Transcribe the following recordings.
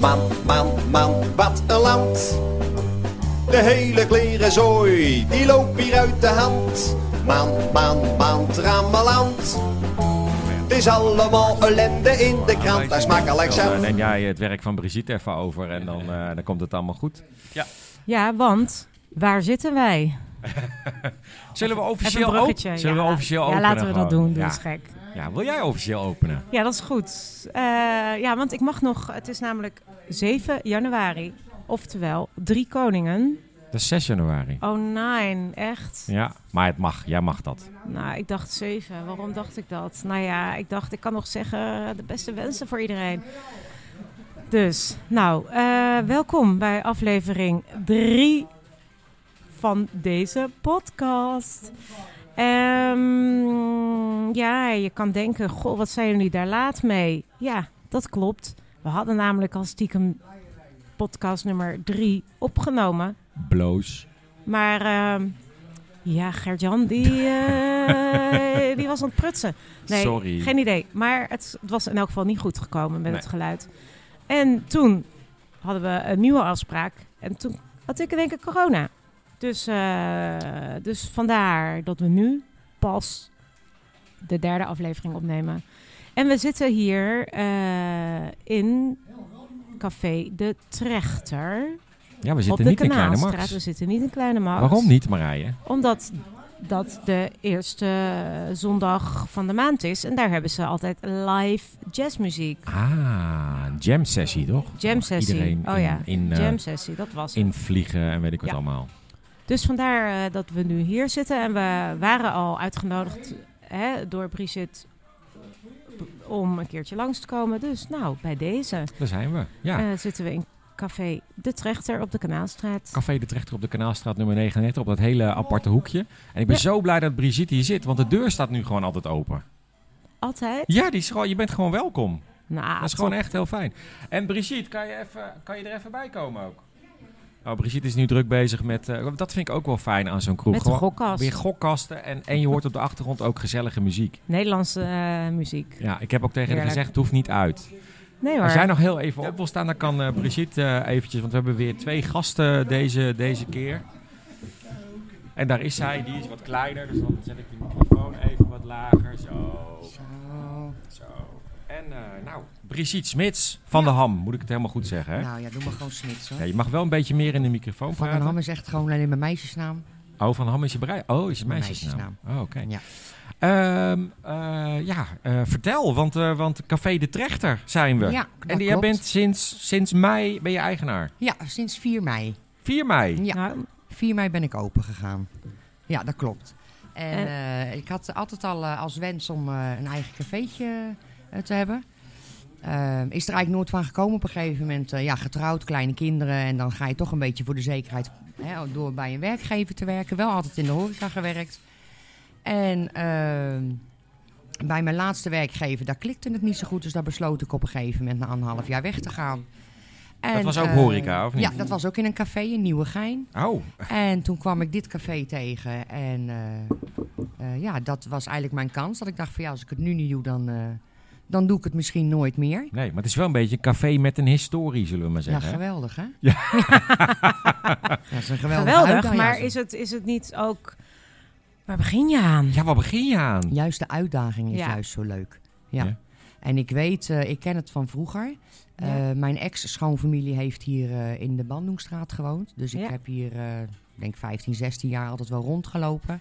Man, man, man, wat een land. De hele klerenzooi, die loopt hier uit de hand. Man, man, man, trammeland. Het is allemaal ellende in de krant, daar smaakt Alex Dan zelf. neem jij het werk van Brigitte even over en dan, eh, dan komt het allemaal goed. Ja, want waar zitten wij? Zullen we Even een officieel, op- bruggetje. zullen ja. we officieel Ja, openen? laten we dat gewoon? doen. Doe Ja. eens gek. ja, wil jij officieel openen? Ja, dat is goed. Eh, ja, want ik mag nog... Het is namelijk 7 januari. Oftewel, drie koningen. Dat is 6 januari. Oh, nine. Echt? Ja, maar het mag. Jij mag dat. Nou, ik dacht zeven. Waarom dacht ik dat? Nou ja, ik dacht, ik kan nog zeggen de beste wensen voor iedereen. Dus, nou, eh, welkom bij aflevering drie van deze podcast. Ehm, ja, je kan denken, goh, wat zijn jullie daar laat mee? Ja, dat klopt. We hadden namelijk al stiekem podcast nummer drie opgenomen. Bloos. Maar ehm, ja, Gertjan, die, eh, die was aan het prutsen. Nee, Sorry. geen idee. Maar het, het was in elk geval niet goed gekomen met Nee. het geluid. En toen hadden we een nieuwe afspraak. En toen had ik in één keer corona. Dus, eh, dus vandaar dat we nu pas de derde aflevering opnemen. En we zitten hier eh, in Café de Trechter. Ja, we op zitten de niet in Kleine Kanaalstraat. We Max. zitten niet in Kleine Max. Waarom niet, Marije? Omdat dat de eerste eh, zondag van de maand is. En daar hebben ze altijd live jazzmuziek. Ah, een jam sessie, toch? Jam sessie. Iedereen Oh in- ja, in, eh, Jam sessie, dat was het. invliegen en weet ik wat Ja. allemaal. Dus vandaar eh, dat we nu hier zitten. En we waren al uitgenodigd hè, door Brigitte b- om een keertje langs te komen. Dus nou, bij deze Daar zijn we. Ja. eh, zitten we in Café De Trechter op de Kanaalstraat. Café de Trechter op de Kanaalstraat nummer 39, op dat hele aparte hoekje. En ik ben zo blij dat Brigitte hier zit, want de deur staat nu gewoon altijd open. Altijd. Ja, die is gewoon, je bent gewoon welkom. Nou, Dat is gewoon echt heel fijn. En Brigitte, kan je, even, kan je er even bij komen ook? Nou, Brigitte is nu druk bezig met... eh, dat vind ik ook wel fijn aan zo'n kroeg. met de Gewoon gokkast. Weer gokkasten en, en je hoort op de achtergrond ook gezellige muziek. Nederlandse eh, muziek. Ja, ik heb ook tegen haar Heerlijk. gezegd, het hoeft niet uit. Nee hoor. Als jij nog heel even op wil staan, dan kan eh, Brigitte eh, eventjes... Want we hebben weer twee gasten deze, deze keer. En daar is zij, die is wat kleiner. Dus dan zet ik de microfoon even wat lager. Zo. Zo. En eh, nou, Brigitte Smits van de Ham. Moet ik het helemaal goed zeggen, hè? Nou ja, doe maar gewoon snits hoor. Ja, je mag wel een beetje meer in de microfoon Van praten. den Ham is echt gewoon alleen mijn meisjesnaam. Oh, Van Ham is je brei. Oh, is je Mijn meisjesnaam. Oh, oké. Ja. Ehm, eh, ja, eh, vertel, want, eh, want Café de Trechter zijn we. Ja, dat en jij klopt. bent sinds, sinds mei ben je eigenaar. Ja, sinds 4 mei. 4 mei. Ja, Nou, 4 mei ben ik open gegaan. Ja, dat klopt. En En- eh, ik had altijd al eh, als wens om eh, een eigen cafeetje eh, te hebben. Ehm, is er eigenlijk nooit van gekomen op een gegeven moment. eh, ja, getrouwd, kleine kinderen. En dan ga je toch een beetje voor de zekerheid hè, door bij een werkgever te werken. Wel altijd in de horeca gewerkt. En ehm, bij mijn laatste werkgever, daar klikte het niet zo goed. Dus daar besloot ik op een gegeven moment na anderhalf jaar weg te gaan. En, was ook eh, horeca, of niet? Ja, dat was ook in een café in Nieuwegein. Oh, En toen kwam ik dit café tegen. En eh, eh, ja, dat was eigenlijk mijn kans. Dat ik dacht van ja, als ik het nu niet doe, dan, eh, dan doe ik het misschien nooit meer. nee, maar het is wel een beetje een café met een historie, zullen we maar Ja, zeggen. hè? geweldig hè? Ja. Ja, dat is een geweldige geweldig, uitdaging. maar is het, is het niet ook... Waar begin je aan? ja, waar begin je aan? Juist de uitdaging is Ja. juist zo leuk. Ja. Ja. En ik weet, eh, ik ken het van vroeger. Eh, mijn ex-schoonfamilie heeft hier eh, in de Bandungstraat gewoond. Dus ik Ja. heb hier, eh, ik denk 15, 16 jaar altijd wel rondgelopen.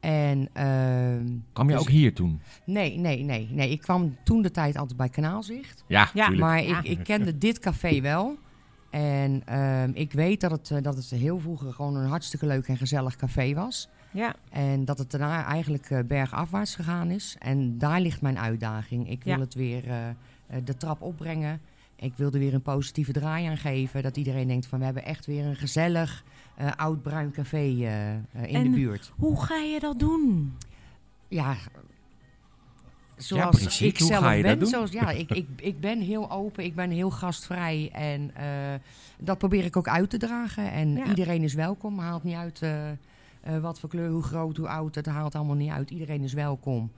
En ehm, Kwam je dus- ook hier toen? Nee, nee, nee, nee. Ik kwam toen de tijd altijd bij Kanaalzicht. Ja, Ja, tuurlijk. Maar Ja. ik, ik kende dit café wel. En ehm, ik weet dat het, eh, dat het heel vroeger gewoon een hartstikke leuk en gezellig café was. Ja, En dat het daarna eigenlijk eh, bergafwaarts gegaan is. En daar ligt mijn uitdaging. Ik wil Ja. het weer eh, eh, de trap opbrengen. Ik wil er weer een positieve draai aan geven. Dat iedereen denkt van we hebben echt weer een gezellig eh, oud bruin café eh, eh, in En- de buurt. hoe ga je dat doen? Ja, zoals Brigitte, ik hoe zelf ga je dat ben. doen? Zoals, ja, ik, ik, ik ben heel open, ik ben heel gastvrij. En eh, dat probeer ik ook uit te dragen. En Ja. iedereen is welkom. Haalt niet uit eh, eh, wat voor kleur, hoe groot, hoe oud. Het haalt allemaal niet uit. Iedereen is welkom.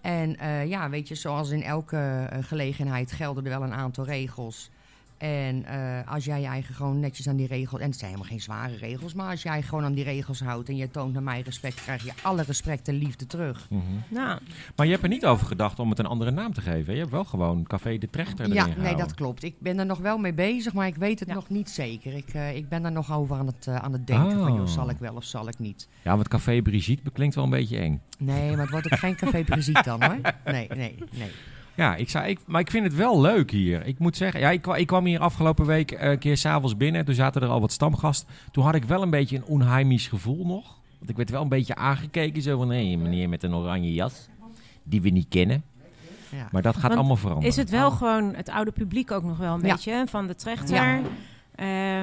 En eh, ja, weet je, zoals in elke eh, gelegenheid gelden er wel een aantal regels. En eh, als jij je eigen gewoon netjes aan die regels... En het zijn helemaal geen zware regels, maar als jij gewoon aan die regels houdt... en je toont naar mij respect, krijg je alle respect en liefde terug. Mhm. Nou, Maar je hebt er niet over gedacht om het een andere naam te geven. Je hebt wel gewoon Café de Trechter erin ja, gehouden. nee, dat klopt. Ik ben er nog wel mee bezig, maar ik weet het Ja. nog niet zeker. Ik, eh, ik ben er nog over aan het, eh, aan het denken van... Oh. joh, zal ik wel of zal ik niet? Ja, want Café Brigitte klinkt wel een beetje eng. Nee, maar het wordt ook geen café Brigitte dan, hoor. Nee, nee, nee. Ja, ik zou, ik, maar ik vind het wel leuk hier. Ik moet zeggen, ja, ik, kwa- ik kwam hier afgelopen week eh, een keer s'avonds binnen. Toen zaten er al wat stamgasten. Toen had ik wel een beetje een onheimisch gevoel nog. Want ik werd wel een beetje aangekeken. Zo van, hé, meneer met een oranje jas. Die we niet kennen. Ja. Maar dat gaat Want allemaal veranderen. is het wel Oh. gewoon het oude publiek ook nog wel een Ja. beetje hè, van de trechter? Ja. Ja.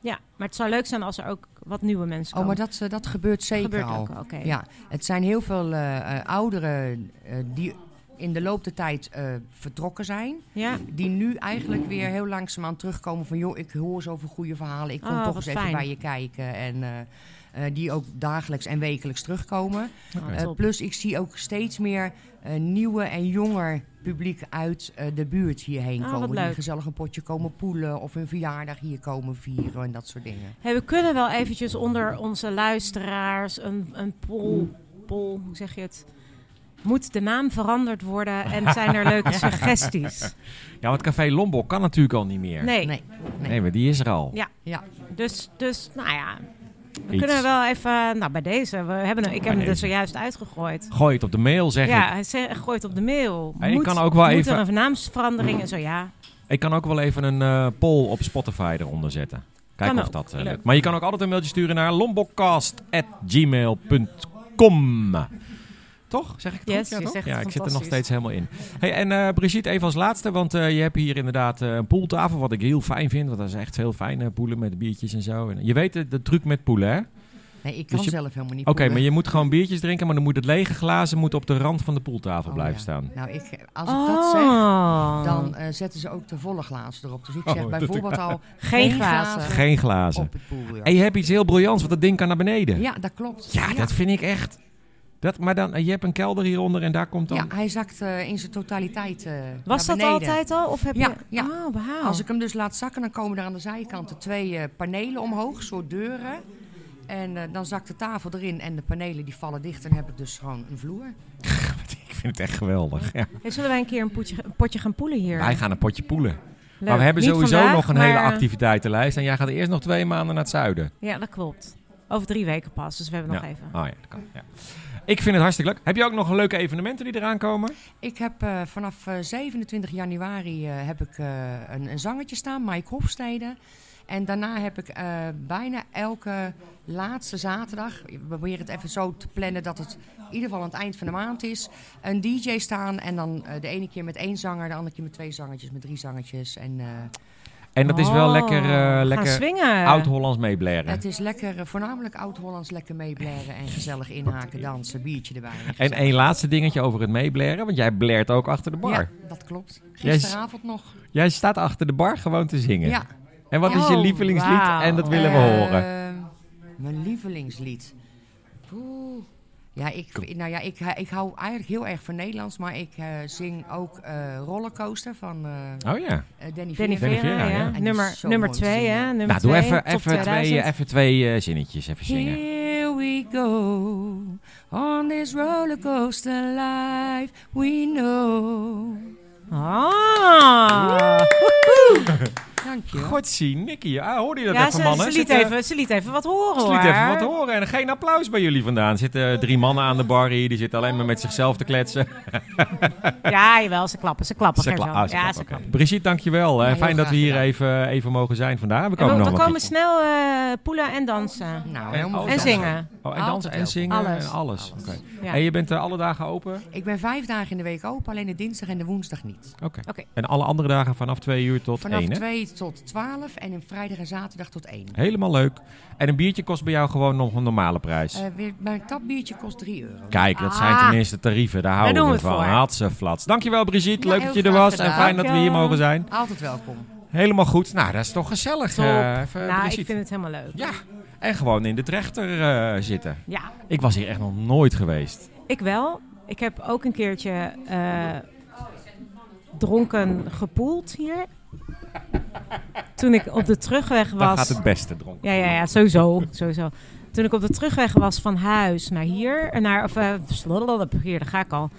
ja, maar het zou leuk zijn als er ook wat nieuwe mensen Oh, komen. maar dat, eh, dat gebeurt zeker gebeurt al. ook, oké. Ja, het zijn heel veel eh, eh, ouderen eh, die in de loop der tijd eh, vertrokken zijn. Ja. Die nu eigenlijk weer heel langzaamaan terugkomen van... joh, ik hoor zoveel goede verhalen. Ik kom Oh, toch wat eens even fijn. bij je kijken. En eh, eh, die ook dagelijks en wekelijks terugkomen. Oh, Eh, top. plus ik zie ook steeds meer eh, nieuwe en jonger publiek uit eh, de buurt hierheen Oh, wat komen. Die leuk. gezellig een potje komen poelen of hun verjaardag hier komen vieren en dat soort dingen. Hey, we kunnen wel eventjes onder onze luisteraars een, een poll, poll, hoe zeg je het? Moet de naam veranderd worden en zijn er leuke suggesties? Ja, want Café Lombok kan natuurlijk al niet meer. Nee, Nee. Nee, maar die is er al. Ja. Ja. Dus, dus nou ja, we Iets. kunnen wel even, nou bij deze, we hebben, hem- ik heb Bij hem er deze. zojuist uitgegooid. Gooi het op de mail, zeg Ja, ik. hij ze- gooit op de mail. En ik moet, kan ook wel moet even- er een naamsverandering en zo, ja. Ik kan ook wel even een eh, poll op Spotify eronder zetten. Kijken Kan of ook. dat eh, Leuk. lukt. Maar je kan ook altijd een mailtje sturen naar lombokcast.gmail.com. Toch? Zeg ik het Yes, goed? je toch? zegt ja het ik zit er nog fantastisch. steeds helemaal in. Hey, en eh, Brigitte, even als laatste, want eh, je hebt hier inderdaad eh, een poeltafel, wat ik heel fijn vind. Want dat is echt heel fijn, eh, poelen met biertjes en zo. En, je weet de, de truc met poelen, hè? Oké, Nee, ik kan Dus je- zelf helemaal niet maar poelen. je moet gewoon biertjes drinken, maar dan moet het lege glazen moet op de rand van de poeltafel Oh, blijven ja. staan. Nou, ik, als ik dat zeg, Oh. dan eh, zetten ze ook de volle glazen erop. Dus ik zeg Ah. Oh, dat- bijvoorbeeld al Geen glazen. Geen glazen. Oh, op het poelbuur. En je hebt iets heel briljants, want dat ding kan naar beneden. Ja, dat klopt. Ja, dat vind ik echt. Dat, maar dan, eh, je hebt een kelder hieronder en daar komt dan... Ja, hij zakt eh, in zijn totaliteit eh, Was naar dat beneden. altijd al? Of heb Ja, je... ja. Oh, wauw. Als ik hem dus laat zakken, dan komen er aan de zijkanten twee eh, panelen omhoog, soort deuren. En eh, dan zakt de tafel erin en de panelen die vallen dicht. En heb ik dus gewoon een vloer. Ik vind het echt geweldig. Ja. Hey, zullen wij een keer een potje, een potje gaan poelen hier? Wij gaan een potje poelen. Leuk. Maar we hebben Niet sowieso vandaag, nog een maar- hele activiteitenlijst. En jij gaat eerst nog twee maanden naar het zuiden. Ja, dat klopt. Over drie weken pas, dus we hebben nog Ja. even. Oh ja, dat kan. Ja. Ik vind het hartstikke leuk. Heb je ook nog leuke evenementen die eraan komen? Ik heb eh, vanaf eh, 27 januari eh, heb ik, eh, een, een zangetje staan, Mike Hofstede. En daarna heb ik eh, bijna elke laatste zaterdag, we proberen het even zo te plannen dat het in ieder geval aan het eind van de maand is, een DJ staan. En dan eh, de ene keer met één zanger, de andere keer met twee zangertjes, met drie zangertjes. En eh, En dat is wel Oh, lekker, eh, we gaan lekker swingen. oud-Hollands meebleren. het is lekker, eh, voornamelijk oud-Hollands, lekker meeblaren en gezellig inhaken, dansen, biertje erbij. En één laatste dingetje over het meebleren. Want jij blert ook achter de bar. Ja, dat klopt. Jij is- Gisteravond nog. Jij staat achter de bar gewoon te zingen. Ja. En wat is je Oh, lievelingslied? wauw. En dat willen we Eh, horen. Mijn lievelingslied. Oeh. Ja, ik, nou ja, ik, ik hou eigenlijk heel erg van Nederlands, maar ik eh, zing ook eh, Rollercoaster van eh, Oh ja. eh, Danny Danny Vera. Vera, Vera, ja. ja. die is Nummer, zo nummer mooi te twee, zingen. hè? Nummer nou, doe twee, even, top even twee, 2000. eh, even twee eh, zinnetjes. Even zingen. Here we go on this rollercoaster life we know. Ah. Dank je. hoor. Godzie, Nicky. Ah, hoorde je dat Ja, even, ze, mannen? ze, liet Zitten- even, ze liet even wat horen, Ze liet even hoor. wat horen en geen applaus bij jullie vandaan. Er zitten eh, drie mannen aan de bar hier, die zitten alleen maar met zichzelf te kletsen. Ja, jawel, ze klappen, ze klappen, Ze kla- Gerzo. ah, ze ja, klappen, ze oké. klappen. Brigitte, dankjewel. Eh, Ja, heel Fijn dat we graag hier gedaan. even, even mogen zijn vandaag. We En komen we, nog we wel komen iets. snel eh, poelen en dansen. Nou, En, helemaal oh, en goed. zingen. Oh, en dansen en Altijd zingen Alles. en alles. Alles. Oké. Ja. En je bent eh, alle dagen open? Oké. Ik ben vijf dagen in de week open, alleen de dinsdag en de woensdag niet. Oké. En alle andere dagen vanaf twee uur tot Vanaf één, hè? 2 tot 12 en een vrijdag en zaterdag tot 1. Helemaal leuk. En een biertje kost bij jou gewoon nog een normale prijs. Eh, weer- mijn tapbiertje kost 3 euro. Kijk, dat zijn Ah. tenminste tarieven. Daar houden doen we we het van. voor. Hatseflats. Dankjewel Brigitte, Ja, leuk dat je er heel was. graag En fijn gedaan. dat we hier Dank je. mogen zijn. Altijd welkom. Helemaal goed. Nou, dat is toch gezellig. Top. eh, even nou, Brigitte. ik vind het helemaal leuk. Ja, en gewoon in de trechter eh, zitten. Ja, Ik was hier echt nog nooit geweest. ik wel. Ik heb ook een keertje eh, dronken gepoeld hier. toen ik op de terugweg was... Daar gaat het beste dronken. Ja, ja, ja, sowieso. sowieso. Toen ik op de terugweg was van huis naar hier, naar, of eh, slalalala, hier, daar ga ik al,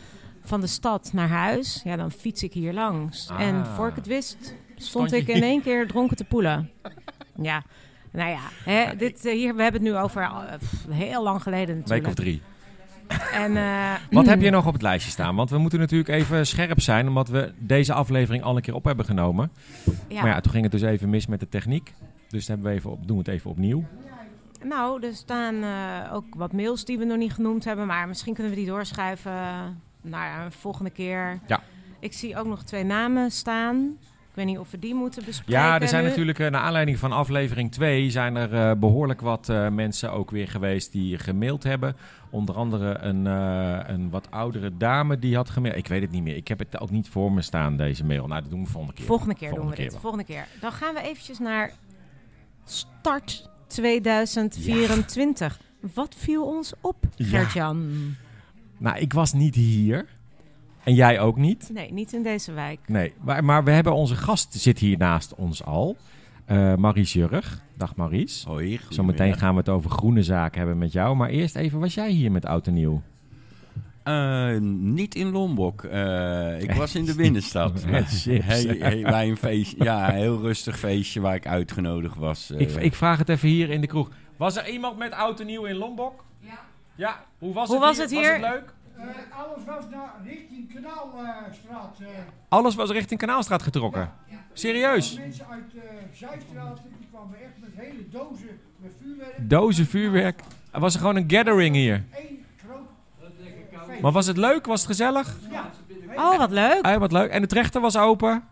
van de stad naar huis, ja, dan fiets ik hier langs. Ah. En voor ik het wist, stond je ik in hier? één keer dronken te poelen. Ja, nou ja, hè, dit, eh, hier, we hebben het nu over eh, pff, heel lang Een geleden Week natuurlijk. of drie. En, eh, Wat heb je nog op het lijstje staan? Want we moeten natuurlijk even scherp zijn, omdat we deze aflevering al een keer op hebben genomen. ja. Maar ja, toen ging het dus even mis met de techniek. Dus hebben we even op, doen we het even opnieuw. Nou, er staan eh, ook wat mails die we nog niet genoemd hebben, maar misschien kunnen we die doorschuiven naar een volgende keer. Ja. Ik zie ook nog twee namen staan. Ik weet niet of we die moeten bespreken. Ja, er zijn nu. natuurlijk, eh, naar aanleiding van aflevering 2, zijn er eh, behoorlijk wat eh, mensen ook weer geweest die gemaild hebben. Onder andere een, eh, een wat oudere dame die had gemaild. Ik weet het niet meer. Ik heb het ook niet voor me staan, deze mail. Nou, dat doen we volgende keer. Volgende keer Volgende doen we keer dit. wel. Volgende keer. Dan gaan we eventjes naar start 2024. Wat viel ons op, Ja. Gert-Jan? Nou, ik was niet hier. En jij ook niet. Nee, niet in deze wijk. Nee, maar, maar we hebben onze gast zit hier naast ons al. Eh Maries Jurg. Dag Maries. Hoi, Zometeen gaan we het over groene zaken hebben met jou. Maar eerst even, was jij hier met Oud en Nieuw? Eh, niet in Lombok. Eh, ik was in de binnenstad. Ja, chips. Hey, hey, bij een feest, ja, een heel rustig feestje waar ik uitgenodigd was. eh. Ik, ik vraag het even hier in de kroeg. Was er iemand met Oud en Nieuw in Lombok? Ja, hoe was, Hoe het, was hier? het hier? Was het leuk? Eh, alles was naar richting Kanaalstraat. eh Alles was richting Kanaalstraat getrokken. Serieus? mensen uit eh Zuidstraat die kwamen echt met hele dozen met vuurwerk. Dozen vuurwerk. Er was gewoon een gathering hier. Eén groot. feest. Maar was het leuk? Was het gezellig? Ja, Oh, wat leuk. Eh, wat leuk. En de trechter was open?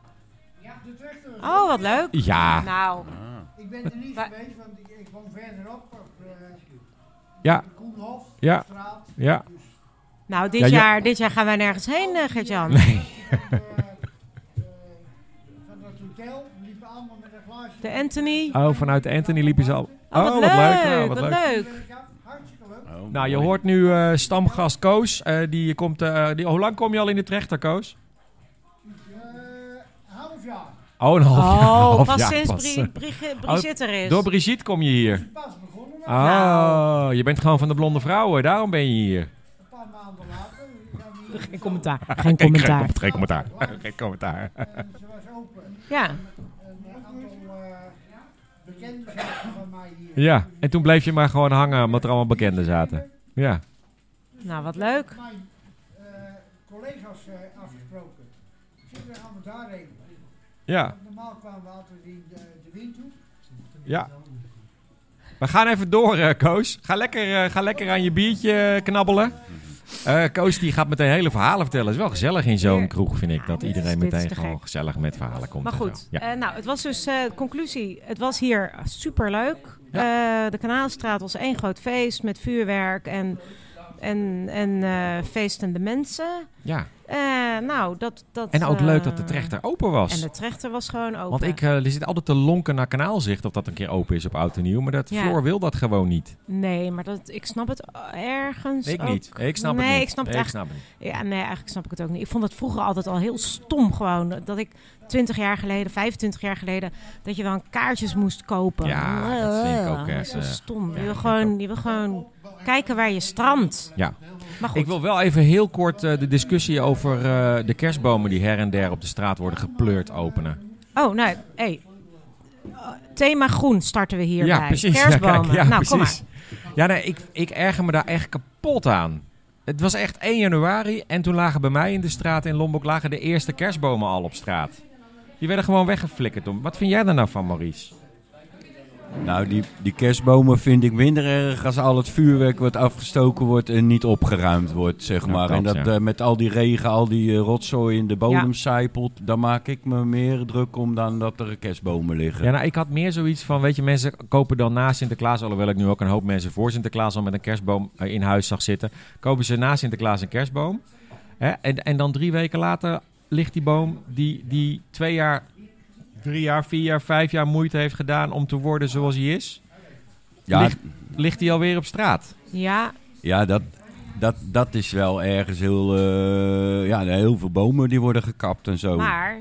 de trechter. Oh, wat leuk. Ja. Nou, Ik ben er niet Wa- geweest, want ik, ik woon verderop op eh, Ja, de Koenhof, Ja. straat. ja. nou dit, Ja, je- jaar, dit jaar gaan wij nergens heen, eh, Gert-Jan. eh, eh, Van dat hotel liepen allemaal met een glaasje. De Anthony. Oh, vanuit Anthony liepen ze al. Oh, wat, leuk. Ja, wat, Ik leuk. werk af. Hartstikke leuk. Oh, Nou, mooi. je hoort nu eh, stamgast Koos. Eh, die komt, eh, die, hoe lang kom je al in de trechter, Koos? Eh, half jaar. Oh, een half jaar. Oh, half pas Oh, jaar sinds pas. Bri- Bri- Brigitte er is. Door Brigitte kom je hier. Pas begonnen, maar Oh, Nou. je bent gewoon van de blonde vrouwen. Daarom ben je hier. een paar maanden later. Geen commentaar. Geen commentaar. Geen commentaar. Geen commentaar. Ze was open. Ja. een aantal eh bekenden zaten van mij hier. Ja, en toen bleef je maar gewoon hangen omdat er allemaal bekenden zaten. Ja. Nou, wat leuk. Mijn eh, collega's eh, afgesproken. Ik zeg, dan gaan we daarheen. Ja, Want normaal kwamen we altijd in de, de windhoek. ja. We gaan even door, eh, Koos. Ga lekker, eh, ga lekker aan je biertje eh, knabbelen. Eh, Koos die gaat meteen hele verhalen vertellen. Het is wel gezellig in zo'n kroeg, vind ik. Dat dit is- iedereen dit is meteen te gewoon gek. gezellig met verhalen komt. Maar en goed, zo. Ja. eh, nou, het was dus, eh, conclusie, het was hier superleuk. Eh, de Kanaalstraat was één groot feest met vuurwerk en, en, en eh, feestende mensen. ja. Eh, nou, dat, dat... En ook leuk dat de eh, trechter open was. En de trechter was gewoon open. Want ik eh, zit altijd te lonken naar kanaalzicht of dat een keer open is op oud en nieuw. Maar dat Ja. Floor wil dat gewoon niet. Nee, maar dat, ik snap het ergens Ik Dus ook. niet. Ik snap het Nee, niet. ik snap het Nee, echt- het niet. Ja, nee, eigenlijk snap ik het ook niet. Ik vond het vroeger altijd al heel stom gewoon. Dat ik 20 jaar geleden, 25 jaar geleden, dat je dan kaartjes moest kopen. Ja, dat vind ik ook Dat echt, is zo eh, stom. ja, je, wil vind ik gewoon, je wil gewoon kijken waar je strandt. Ja. Maar goed, Ik wil wel even heel kort eh, de discussie over eh, de kerstbomen die her en der op de straat worden gepleurd openen. oh, nou, hey. Eh, Thema groen starten we hierbij. ja, precies. Ja, kijk, Kerstbomen. ja, nou, kom maar. precies. Ja, nee, ik, ik erger me daar echt kapot aan. Het was echt 1 januari en toen lagen bij mij in de straat in Lombok lagen de eerste kerstbomen al op straat. Die werden gewoon weggeflikkerd. om- Wat vind jij daar nou van, Maurice? Nou, die, die kerstbomen vind ik minder erg als al het vuurwerk wat afgestoken wordt en niet opgeruimd wordt, zeg Ja, maar. klopt, en dat Nou, ja. eh, met al die regen, al die eh, rotzooi in de bodem Ja. sijpelt, daar maak ik me meer druk om dan dat er kerstbomen liggen. Ja, nou, ik had meer zoiets van, weet je, mensen kopen dan na Sinterklaas, alhoewel ik nu ook een hoop mensen voor Sinterklaas al met een kerstboom eh, in huis zag zitten, kopen ze na Sinterklaas een kerstboom. Hè? En, en dan drie weken later ligt die boom die, die twee jaar, drie jaar, vier jaar, vijf jaar moeite heeft gedaan om te worden zoals hij is, Ja, Ligt- ligt hij alweer op straat. Ja, Ja, dat, dat, dat is wel Oh. Nou, ergens heel... eh, ja, heel veel bomen die worden gekapt en zo. maar...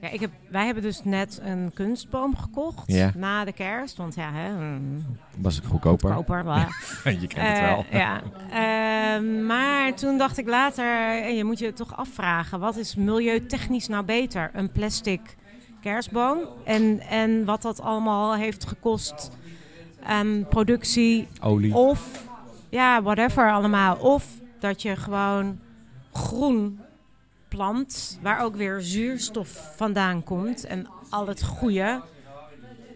Ja, ik heb, wij hebben dus net een kunstboom gekocht Ja. na de kerst. Want ja, hè, mm, Was ik goedkoper? goedkoper. bla. Je kent het Eh, wel. ja. Ehm, maar toen dacht ik later, eh, je moet je toch afvragen, wat is milieutechnisch nou beter? Een plastic kerstboom en, en wat dat allemaal heeft gekost aan productie Olie. Oh. of ja, whatever allemaal. Of dat je gewoon groen plant, waar ook weer zuurstof vandaan komt en al het goede.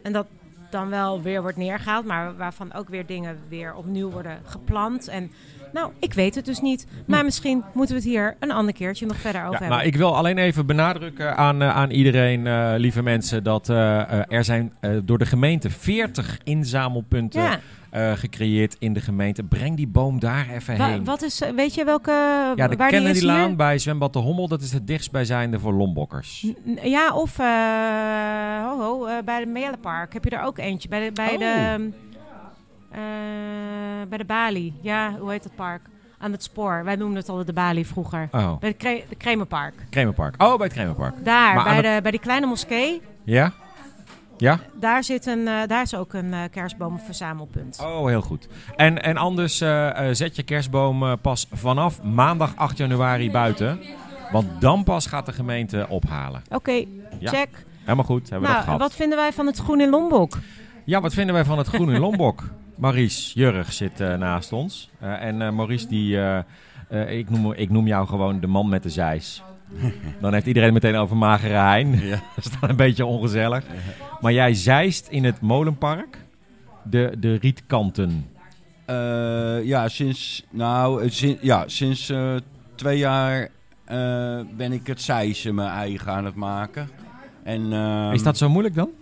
En dat dan wel weer wordt neergehaald, maar waarvan ook weer dingen weer opnieuw worden geplant. En nou, ik weet het dus niet. Maar misschien moeten we het hier een ander keertje nog verder over Ja, hebben. maar ik wil alleen even benadrukken aan, eh, aan iedereen, eh, lieve mensen, dat eh, eh, er zijn eh, door de gemeente 40 inzamelpunten ja, eh, gecreëerd in de gemeente. Breng die boom daar even wa- heen. wat is, eh, weet je welke, ja, de waar die is hier? Kennedylaan bij Zwembad de Hommel, dat is het dichtstbijzijnde voor Lombokkers. N- n- Ja, of eh, ho, ho, eh, bij de Melenpark heb je er ook eentje. Bij de, bij, Oh. de, ehm, eh, bij de Bali. Ja, hoe heet dat park? Aan het spoor. Wij noemden het altijd de Bali vroeger. Oh, Bij de, Kre- de Kremerpark. Kremerpark. Oh, bij het Kremerpark. Daar, Maar aan bij, de, bij die kleine moskee. Ja? Ja? Daar, zit een, eh, daar is ook een eh kerstboomverzamelpunt. Oh, heel goed. En, en anders eh, eh, zet je kerstboom eh, pas vanaf maandag 8 januari buiten. Want dan pas gaat de gemeente ophalen. Oké, Ja, check. Helemaal goed, hebben we dat nou, gehad. wat vinden wij van het groen in Lombok? Ja, wat vinden wij van het groen in Lombok? Maurice Jurg zit eh, naast ons. Eh, en eh, Maurice, die, eh, eh, ik, noem, ik noem jou gewoon de man met de zeis. Dan heeft iedereen meteen over magere hein. Ja. Dat is dan een beetje ongezellig. Maar jij zeist in het molenpark de, de rietkanten. Eh, ja, sinds, nou, eh, sin- ja, sinds eh, twee jaar eh, ben ik het zeisen mijn eigen aan het maken. En, ehm, Is dat zo moeilijk dan?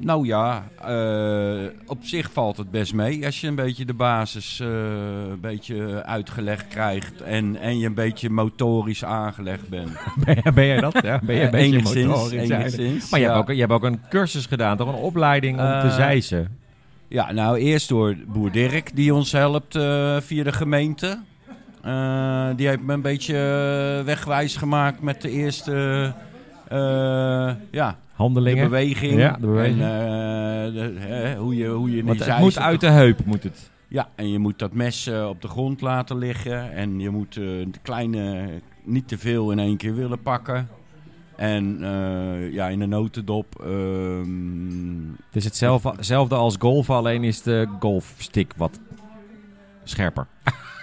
Nou ja, eh, op zich valt het best mee. Als je een beetje de basis eh, een beetje uitgelegd krijgt en, en je een beetje motorisch aangelegd bent. Ben jij, ben jij dat? Ja, ben jij een beetje Eh, Enigszins, motorisch? enigszins, Maar je, ja. hebt ook, je hebt ook een cursus gedaan, toch? Een opleiding om te Eh, zeisen. Ja, nou eerst door boer Dirk, die ons helpt eh, via de gemeente. Eh, die heeft me een beetje eh, wegwijs gemaakt met de eerste eh, ja, de Handelingen. beweging. Ja, de beweging. En, eh, de- hè, hoe je, hoe je Want die het moet zeis- uit de heup, moet het. Ja, en je moet dat mes eh, op de grond laten liggen. En je moet eh, de kleine niet te veel in één keer willen pakken. En eh, ja, in de notendop. ehm, Het is hetzelfde hetzelfde als golf, alleen is de golfstick wat scherper.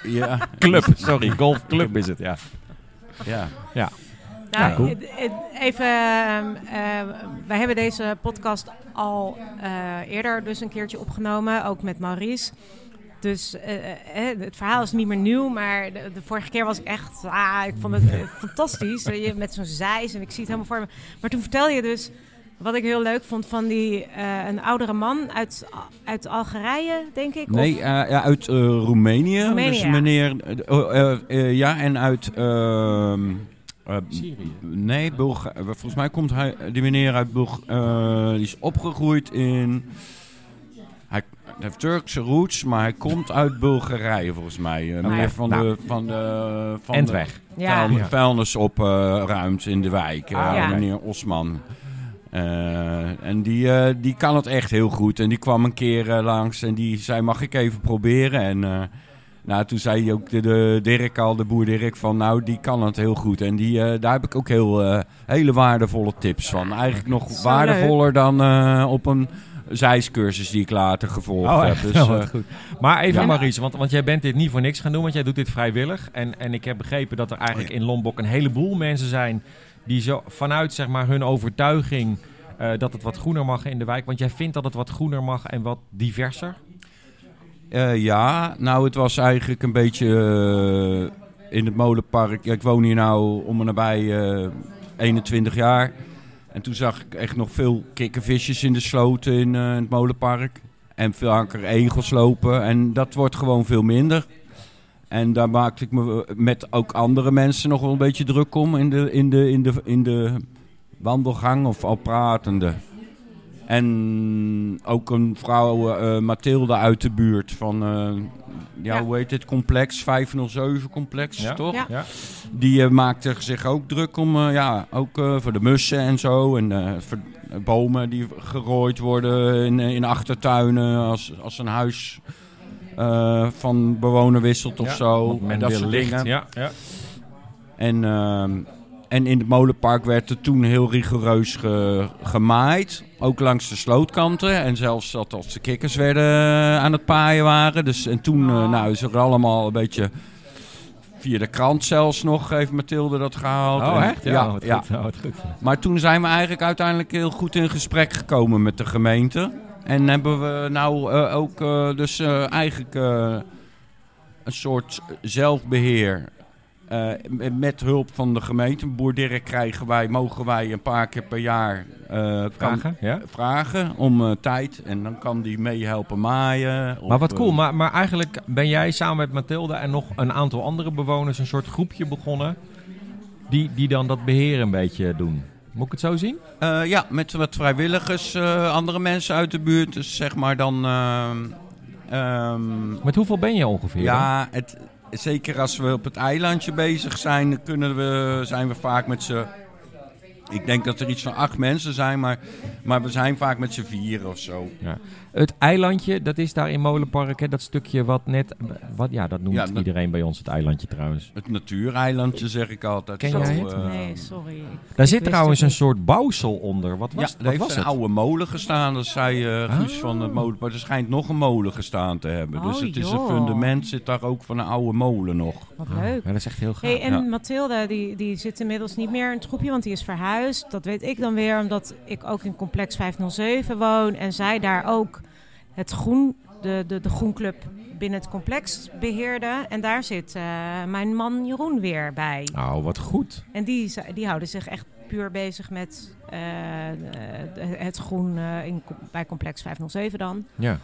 ja, Club, sorry, golfclub is het, ja. ja. Nou, Ja, cool. het- het- Even, ehm, ehm, wij hebben deze podcast al eh, eerder dus een keertje opgenomen, ook met Maurice. Dus eh, eh, het verhaal is niet meer nieuw, maar de, de vorige keer was ik echt, ah, ik vond het eh, fantastisch. Weet je, met zo'n zeis en ik zie het helemaal voor me. Maar toen vertel je dus wat ik heel leuk vond van die, eh, een oudere man uit, uit Algerije, denk ik. Nee, Of- eh, ja, uit eh, Roemenië. Roemenië, Dus ja. meneer. eh, oh, eh, eh, ja, en uit. ehm, eh, Nee, Bulga eh, volgens mij komt hij, die meneer uit Bulg. eh, die is opgegroeid in. Hij heeft Turkse roots, maar hij komt uit Bulgarije volgens mij. Eh, Oké, Meer van, nou. de, van de. Van En de- weg. ja. vuil- Ja. vuilnis op eh, ruimt in de wijk. eh, Ah, ja. Meneer Osman. Eh, en die, eh, die kan het echt heel goed. En die kwam een keer eh, langs en die zei, mag ik even proberen? En eh, nou, toen zei hij ook de, de Dirk al, de boer Dirk, van nou, die kan het heel goed. En die, eh, daar heb ik ook heel, eh, hele waardevolle tips van. Eigenlijk nog Zo waardevoller dan eh, op een zijscursus die ik later gevolgd Oh, heb. echt? Dus, Oh, eh, wat goed. Maar even ja. Maurice, want, want jij bent dit niet voor niks gaan doen, want jij doet dit vrijwillig. En, en ik heb begrepen dat er eigenlijk in Lombok een heleboel mensen zijn die zo vanuit zeg maar, hun overtuiging eh, dat het wat groener mag in de wijk. Want jij vindt dat het wat groener mag en wat diverser. Eh, ja, nou het was eigenlijk een beetje eh, in het molenpark. Ja, ik woon hier nou om en nabij eh, 21 jaar. En toen zag ik echt nog veel kikkervisjes in de sloten in, eh, in het molenpark. En veel anker egels lopen. En dat wordt gewoon veel minder. En daar maakte ik me eh, met ook andere mensen nog wel een beetje druk om in de, in de, in de, in de wandelgang of al pratende. En ook een vrouw, eh Mathilde uit de buurt van, eh, ja, Ja. hoe heet het, complex, 507 complex, Ja. toch? Ja. Ja. Die eh, maakte zich ook druk om, eh, ja, ook eh, voor de mussen en zo. En eh, voor bomen die gerooid worden in, in achtertuinen als, als een huis eh, van bewoner wisselt of Ja, zo. Want men Oh, dat wil soort licht. dingen. Ja, ja. En, ehm, en in het molenpark werd er toen heel rigoureus ge- gemaaid. Ook langs de slootkanten. En zelfs dat als de kikkers werden eh, aan het paaien waren. Dus, en toen eh, nou, is er allemaal een beetje... Via de krant zelfs nog heeft Mathilde dat gehaald. En- Oh, echt? Ja, Ja, wat ja. goed. oh, wat goed. Maar toen zijn we eigenlijk uiteindelijk heel goed in gesprek gekomen met de gemeente. En hebben we nou eh, ook eh, dus eh, eigenlijk eh, een soort zelfbeheer. Eh, m- met hulp van de gemeente, boer Dirk, krijgen wij, mogen wij een paar keer per jaar eh, kan- Vragen? Ja. vragen om eh, tijd. En dan kan die meehelpen maaien. Maar of, wat eh, cool, maar, maar eigenlijk ben jij samen met Mathilde en nog een aantal andere bewoners een soort groepje begonnen. Die, die dan dat beheer een beetje doen. Moet ik het zo zien? Eh, ja, met wat vrijwilligers, eh, andere mensen uit de buurt. Dus zeg maar dan... ehm, ehm, Met hoeveel ben je ongeveer? Ja, het, zeker als we op het eilandje bezig zijn, dan kunnen we, zijn we vaak met z'n... Ik denk dat er iets van acht mensen zijn, maar, maar we zijn vaak met z'n vier of zo. Het eilandje, dat is daar in Molenpark, hè, dat stukje wat net... Wat, ja, dat noemt Ja, dat- iedereen bij ons het eilandje trouwens. Het natuureilandje zeg ik altijd. Ken zo, jij het? eh, Nee, sorry. Ik- Daar ik zit wist trouwens het een niet. soort bouwsel onder. Wat ja, was, er wat heeft was een het? oude molen gestaan, dat zei eh Guus Ah. van het molen. Maar er schijnt nog een molen gestaan te hebben. dus Oh, het is een joh. fundament, zit daar ook van een oude molen nog. Wat Ah, leuk. ja, dat is echt heel gaaf. Hey, en ja. Mathilde, die, die zit inmiddels niet meer in het groepje, want die is verhuisd. Dat weet ik dan weer, omdat ik ook in complex 507 woon. En zij daar ook het groen, de, de, de groenclub binnen het complex beheerde. En daar zit eh, mijn man Jeroen weer bij. Nou, wat goed. En die, z- die houden zich echt puur bezig met eh, eh, het groen eh, in, co- bij complex 507 dan. Ja.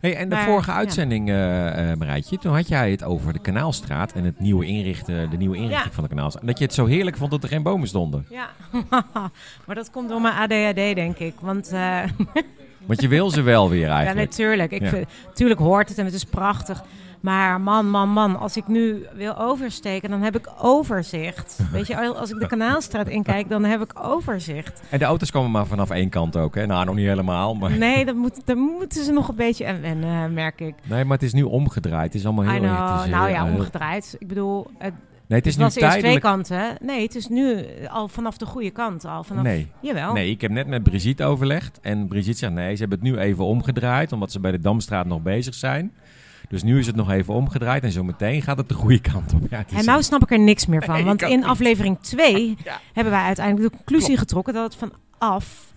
Hey, en de Maar, vorige ja. uitzending, eh eh Marijtje, toen had jij het over de Kanaalstraat en het nieuwe inrichten, de nieuwe inrichting Ja. van de Kanaalstraat. En dat je het zo heerlijk vond dat er geen bomen stonden. Ja, maar dat komt door mijn ADHD, denk ik. Want... eh, Want je wil ze wel weer Ja, eigenlijk. natuurlijk. Ik Ja. vind- tuurlijk hoort het en het is prachtig. Maar man, man, man, als ik nu wil oversteken, dan heb ik overzicht. Weet je, al- als ik de Kanaalstraat inkijk, dan heb ik overzicht. En de auto's komen maar vanaf één kant ook, hè? Nou, nog niet helemaal, maar... Nee, dat moet, daar moeten ze nog een beetje aan wennen, eh, merk ik. Nee, maar het is nu omgedraaid. Het is allemaal I heel... het know. is Nou heel- ja, heel- omgedraaid. Ik bedoel, het, Nee, het is nu was eerst twee tijdelijk... kanten. Nee, het is nu al vanaf de goede kant. Al vanaf, Nee. Jawel. Nee, ik heb net met Brigitte overlegd. En Brigitte zegt, nee, ze hebben het nu even omgedraaid, omdat ze bij de Damstraat nog bezig zijn. Dus nu is het nog even omgedraaid en zometeen gaat het de goede kant op. Ja, het is En nou snap ik er niks meer van. Nee, want ik ook in niet. aflevering 2 Ja. hebben wij uiteindelijk de conclusie getrokken dat het vanaf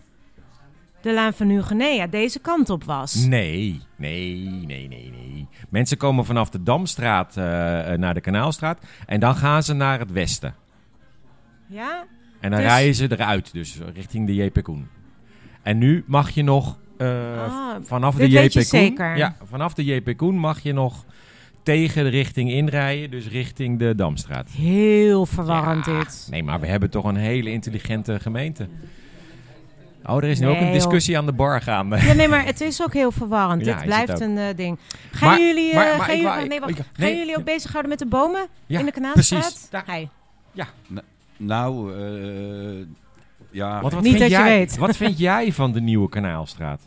de Laan van Hugenea deze kant op was. Mm. Nee, nee, nee, nee, nee. Mensen komen vanaf de Damstraat eh, eh, naar de Kanaalstraat en dan gaan ze naar het westen. Ja? En dan Dus- rijden ze eruit, dus richting de JP Koen. En nu mag je nog eh, Ah, vanaf dit de JP weet je Koen. zeker. Ja, vanaf de JP Koen mag je nog tegen de richting inrijden, dus richting de Damstraat. Heel verwarrend Ja, dit. Nee, maar we hebben toch een hele intelligente gemeente. Oh, er is nu ook Nee, een joh. discussie aan de bar gaande. Ja, nee, maar het is ook heel verwarrend. Ja, is dit het blijft ook. een eh, ding. Gaan Maar- jullie, eh, maar- maar gaan ik jullie, wou- oh, nee, ik- wacht. ik- gaan nee, jullie ook ja. bezighouden met de bomen Ja, in de Kanaalstraat? precies. Daar- Hey. Nou, eh, ja... Want wat Niet vind dat je jij, weet. Wat vind jij van de nieuwe Kanaalstraat?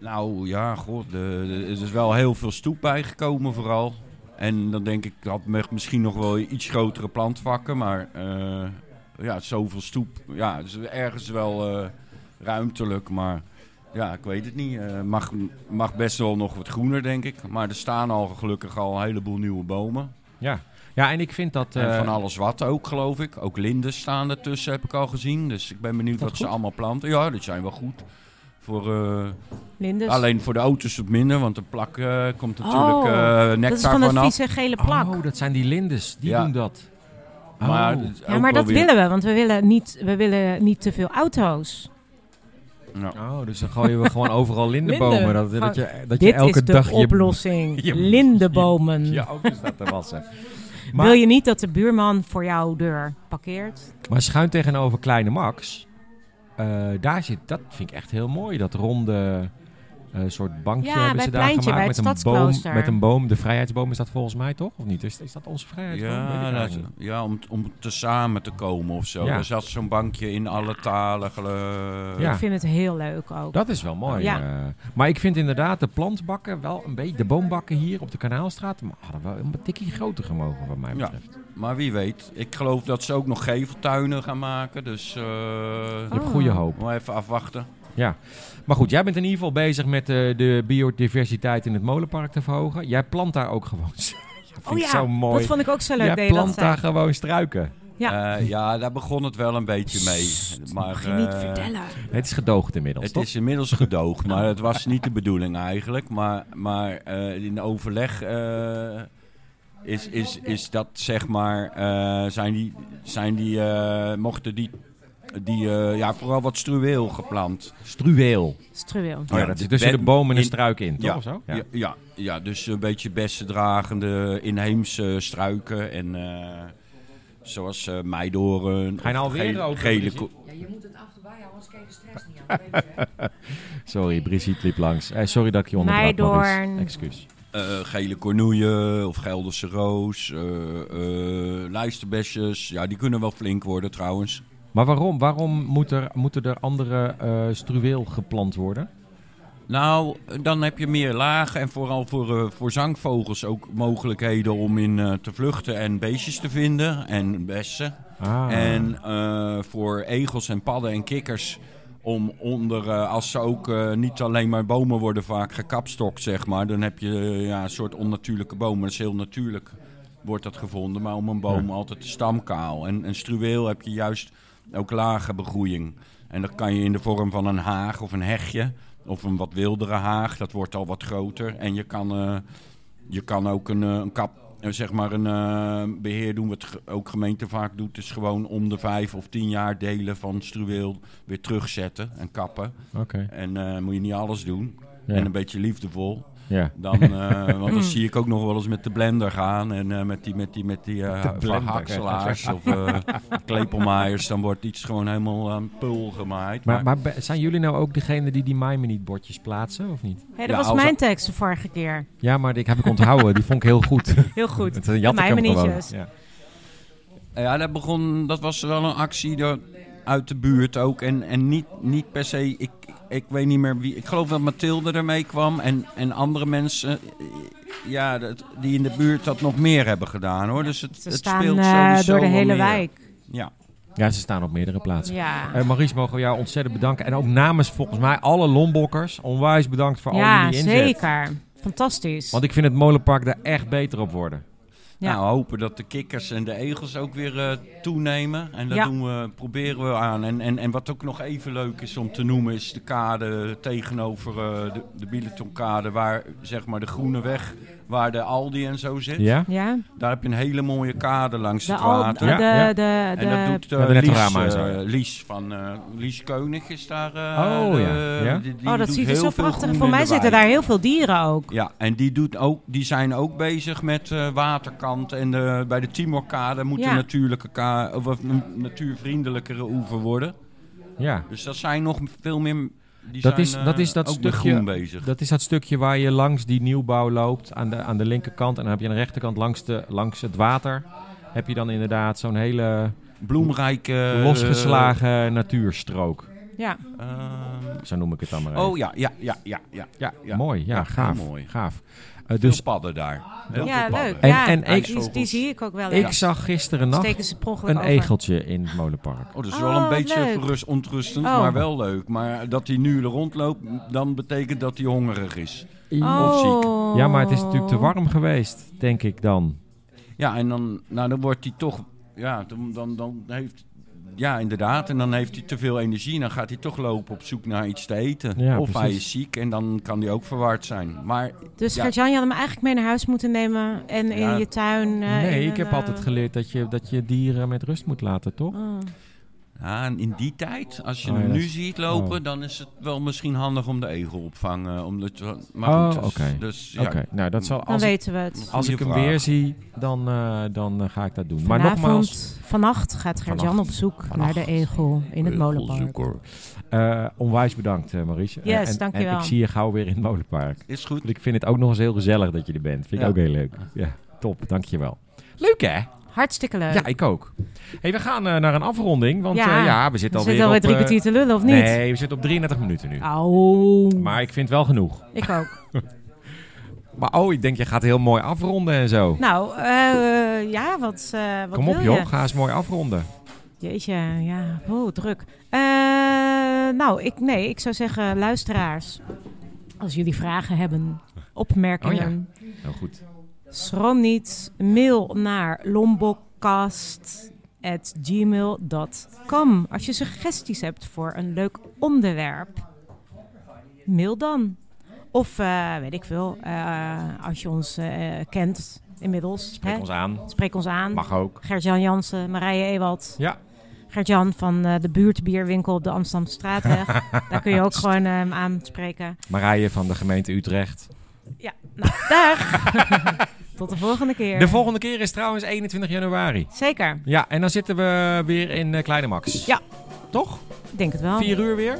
Nou ja, god, de- de- er is wel heel veel stoep bijgekomen vooral. En dan denk ik, dat had me- misschien nog wel iets grotere plantvakken, maar eh, ja, zoveel stoep. Ja, het is ergens wel eh, ruimtelijk, maar ja, ik weet het niet. Eh, mag, mag best wel nog wat groener, denk ik. Maar er staan al gelukkig al een heleboel nieuwe bomen. Ja. ja, en ik vind dat... eh, en van alles wat ook, geloof ik. Ook linden staan ertussen, heb ik al gezien. Dus ik ben benieuwd wat ze allemaal planten. Ja, die zijn wel goed. Voor... eh, Linders. Alleen voor de auto's wat minder, want de plak eh, komt natuurlijk Dus- Oh, dat eh is van nectar dat vanaf. vieze gele plak. Oh, dat zijn die lindes. Die Ja. doen dat. Maar, Oh. het is ja, ook maar wel dat weer- willen we, want we willen niet, we willen niet te veel auto's. Nou, Oh, dus dan gooien we gewoon overal lindenbomen. Dat, Linden. dat je, dat je Dit elke is de dag oplossing. je- Lindenbomen. je... Je auto's staat te wassen. Wil Maar, je niet dat de buurman voor jouw deur parkeert? maar schuin tegenover Kleine Max... eh, daar zit, dat vind ik echt heel mooi. Dat ronde eh, soort bankje Ja, hebben bij ze het daar pleintje, gemaakt met, bij het een boom, Stadsklooster. met een boom. De vrijheidsboom is dat volgens mij toch? Of niet? Is, is dat onze vrijheidsboom? Weet ik Ja, nou, eigenlijk dat- niet. ja om, om te samen te komen of zo. Ja. Er zat zo'n bankje in alle talen. gele- Ja. Ik vind het heel leuk ook. Dat is wel mooi. Ja. eh. maar ik vind inderdaad de plantbakken wel een beetje, de boombakken hier op de Kanaalstraat, maar hadden wel een tikkie groter gemogen wat mij Ja. betreft. Maar wie weet. Ik geloof dat ze ook nog geveltuinen gaan maken. Dus eh Je Oh. Ah. hebt goede hoop. maar even afwachten. Maar goed, jij bent in ieder geval bezig met eh, de biodiversiteit in het molenpark te verhogen. Jij plant daar ook gewoon. dat vind oh ik ja, zo mooi. dat vond ik ook zo leuk. dat jij je dat plant zei. daar eh, gewoon struiken. Ja. Ja. Eh, ja, daar begon het wel een beetje mee. Maar, Mag je niet eh, vertellen. Het is gedoogd inmiddels. Het toch? is inmiddels gedoogd, maar het was niet de bedoeling eigenlijk. Maar, maar eh, in overleg eh, is, is, is dat zeg maar, eh, zijn die, zijn die eh, mochten die, die eh, ja, vooral wat struweel geplant. struweel. Struweel. Oh ja, Ja, dat is het tussen werd de bomen en in- struik in, toch? Ja. Of zo? Ja, ja, ja, dus een beetje bessendragende inheemse struiken en eh, zoals eh meidoren. Ga je nou of alweer gele- over, gele Brigitte? ko- Ja, je moet het af en toe bijhouden, anders krijg je stress niet aan. Dat weet je, hè? Sorry, Brigitte liep langs. Eh, sorry dat ik je onderbrak, Maurice. Meidoorn. Excuus. eh, gele cornoeien of Gelderse roos, eh eh, luisterbesjes. Ja, die kunnen wel flink worden trouwens. Maar waarom? Waarom moet er, moeten er andere eh, struweel geplant worden? Nou, dan heb je meer lagen en vooral voor, eh, voor zangvogels ook mogelijkheden om in eh, te vluchten en beestjes te vinden en bessen. Ah. En eh, voor egels en padden en kikkers om onder, eh, als ze ook eh, niet alleen maar bomen worden vaak gekapstokt, zeg maar. Dan heb je eh, ja, een soort onnatuurlijke bomen. Dat is heel natuurlijk, wordt dat gevonden. Maar om een boom altijd stamkaal. En, en struweel heb je juist ook lage begroeiing. En dat kan je in de vorm van een haag of een hegje. Of een wat wildere haag, dat wordt al wat groter. En je kan... eh, je kan ook een, eh, een kap, eh, zeg maar een eh, beheer doen, wat ge- ook gemeente vaak doet, is gewoon om de vijf of tien jaar delen van struweel weer terugzetten en kappen. Oké. En eh, moet je niet alles doen. Ja. En een beetje liefdevol. Ja. Dan, eh, want dan zie ik ook nog wel eens met de blender gaan en eh, met die, met die, met die eh, blender, verhakselaars of eh klepelmaaiers. Dan wordt iets gewoon helemaal aan pul gemaaid. Maar, maar be- zijn jullie nou ook degene die die mij me niet bordjes plaatsen, of niet? Hey, Ja, dat was als- mijn tekst de vorige keer. Ja, maar die heb ik onthouden. Die vond ik heel goed. Heel goed. Het jat ik Mijn hem gewoon. manietjes. Ja. Ja, dat, begon, dat was wel een actie daar uit de buurt ook. En, en niet, niet per se, ik, ik weet niet meer wie. Ik geloof dat Mathilde ermee kwam. En, en andere mensen eh, ja, dat, die in de buurt dat nog meer hebben gedaan hoor. Dus het, Ze het staan speelt eh, sowieso door de wel hele meer. wijk. Ja. ja, ze staan op meerdere plaatsen. Ja. Eh Maries, mogen we jou ontzettend bedanken. En ook namens volgens mij alle Lombokkers, onwijs bedankt voor al ja, jullie inzet. zeker. Fantastisch. Want ik vind het molenpark daar echt beter op worden. Ja. Nou, hopen dat de kikkers en de egels ook weer eh, toenemen. En dat Ja. doen we, proberen we aan. En, en, en wat ook nog even leuk is om te noemen, is de kade tegenover eh, de, de Bieletonkade, waar zeg maar de groene weg, waar de Aldi en zo zit. Ja? ja, Daar heb je een hele mooie kade langs de, het al, water. Ja, de, ja. de, de, En dat doet eh, hebben net een Lies, raam aan, eh, zo, ja. Lies van eh Lies Keunig is daar. eh, Oh, de- ja. Ja? die- die oh, dat doet ziet er heel zo veel prachtig. groen Voor in mij de zitten wijk. daar heel veel dieren ook. Ja, en die, doet ook, die zijn ook bezig met eh, waterkant. En de, bij de Timorkade moet Ja. een natuurlijke ka of een natuurvriendelijkere oever worden. Ja. Dus dat zijn nog veel meer. Dat Die zijn, is- dat eh, is dat ook met stukje- groen bezig. Dat is dat stukje waar je langs die nieuwbouw loopt, aan de, aan de linkerkant. En dan heb je aan de rechterkant langs, de, langs het water, heb je dan inderdaad zo'n hele Bloemrijke. eh, losgeslagen natuurstrook. Ja. eh, Zo noem ik het dan maar even. oh ja, ja, ja, ja. ja. ja, mooi. Ja, Ja, gaaf. heel mooi. gaaf. Eh, Dus dus padden daar. Heel Ja, veel padden. leuk. En- ja, en ik- die, die zie ik ook wel ik eens. zag gisteren nacht Steken ze per ongeluk een over. egeltje in het molenpark. Oh, dat is Oh, wel een wat beetje leuk. verrust, ontrustend, Oh. maar wel leuk. Maar dat hij nu er rondloopt, dan betekent dat hij hongerig is. Of ziek. Oh. Ja, maar het is natuurlijk te warm geweest, denk ik dan. Ja, en dan, nou, dan wordt hij toch. Ja, dan, dan, dan heeft. Ja, inderdaad. En dan heeft hij te veel energie. En dan gaat hij toch lopen op zoek naar iets te eten. Ja, of hij precies. is ziek en dan kan hij ook verward zijn. Maar Dus Ja. Gert-Jan, je had hem eigenlijk mee naar huis moeten nemen en in Ja. je tuin. eh, nee, in ik een, heb altijd eh, geleerd dat je, dat je dieren met rust moet laten, toch? oh. Ja, en in die tijd, als je Oh, ja, hem dat nu is- ziet lopen, oh. dan is het wel misschien handig om de egel opvangen. Omdat, je- Oh, maar goed, dus, oké. dus ja, Oké, nou dat zal Dan als, ik- weten we het. als ik Goeie hem vraag. weer zie, dan, eh, dan eh, ga ik dat doen. Maar Vanavond, nogmaals, vannacht gaat Gert-Jan op Vannacht. zoek Vannacht. naar de egel in het molenpark. Vogelzoeker. Eh, onwijs bedankt, eh, Maurice. Yes, Eh, en, dankjewel. En ik zie je gauw weer in het molenpark. is goed. Want ik vind het ook nog eens heel gezellig dat je er bent. Vind ik Ja. ook heel leuk. Ja, top. Dankjewel. Leuk, hè? Hartstikke leuk. Ja, ik ook. hey, we gaan eh, naar een afronding. Want Ja. ja, ja we we zitten alweer zitten alweer op... drie eh, kwartier te lullen, of niet? Nee, we zitten op 33 minuten nu. Au. Maar ik vind wel genoeg. Ik ook. Maar oh, ik denk, je gaat heel mooi afronden en zo. Nou, eh, eh, ja, wat, eh wat Kom op, wil joh. je? Ga eens mooi afronden. Jeetje, ja, oh, druk. Eh, nou, ik, nee, ik zou zeggen, luisteraars, als jullie vragen hebben, opmerkingen, Nou, goed. schroom niet, mail naar lombokcast.gmail.com. Als je suggesties hebt voor een leuk onderwerp, mail dan. Of, eh, weet ik veel, eh, als je ons eh, kent inmiddels, Spreek hè, ons aan. spreek ons aan. Mag ook. Gert-Jan Jansen, Marije Ewald. Ja. Gert-Jan van eh, de buurtbierwinkel op de Amsterdamse Straatweg. Daar kun je ook gewoon eh, hem aanspreken. Marije van de gemeente Utrecht. Ja, nou, dag! Tot de volgende keer. De volgende keer is trouwens 21 januari. Zeker, Ja, en dan zitten we weer in eh, Kleine Max. Ja. Toch? ik denk het wel. Vier uur weer?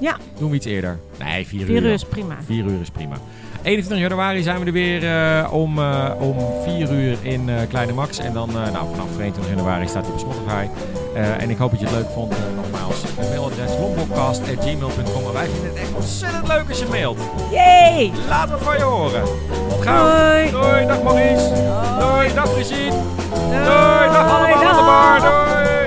Ja. Doen we iets eerder? Nee, vier, Vier uur. uur is prima. Vier uur is prima. 21 januari zijn we er weer eh, om, eh, om vier uur in eh, Kleine Max. En dan eh, nou, vanaf 22 januari staat hij op Spotify. Eh, en ik hoop dat je het leuk vond. eh, nogmaals, het mailadres lombokcast.gmail.com. En wij vinden het echt ontzettend leuk als je mailt. Yay! Laat wat van je horen. Tot gauw. Doei! Doei, dag Maurice. Doei, dag Brigitte. Doei, dag allemaal aan de bar. dag. Doei. Oh, eh, eh,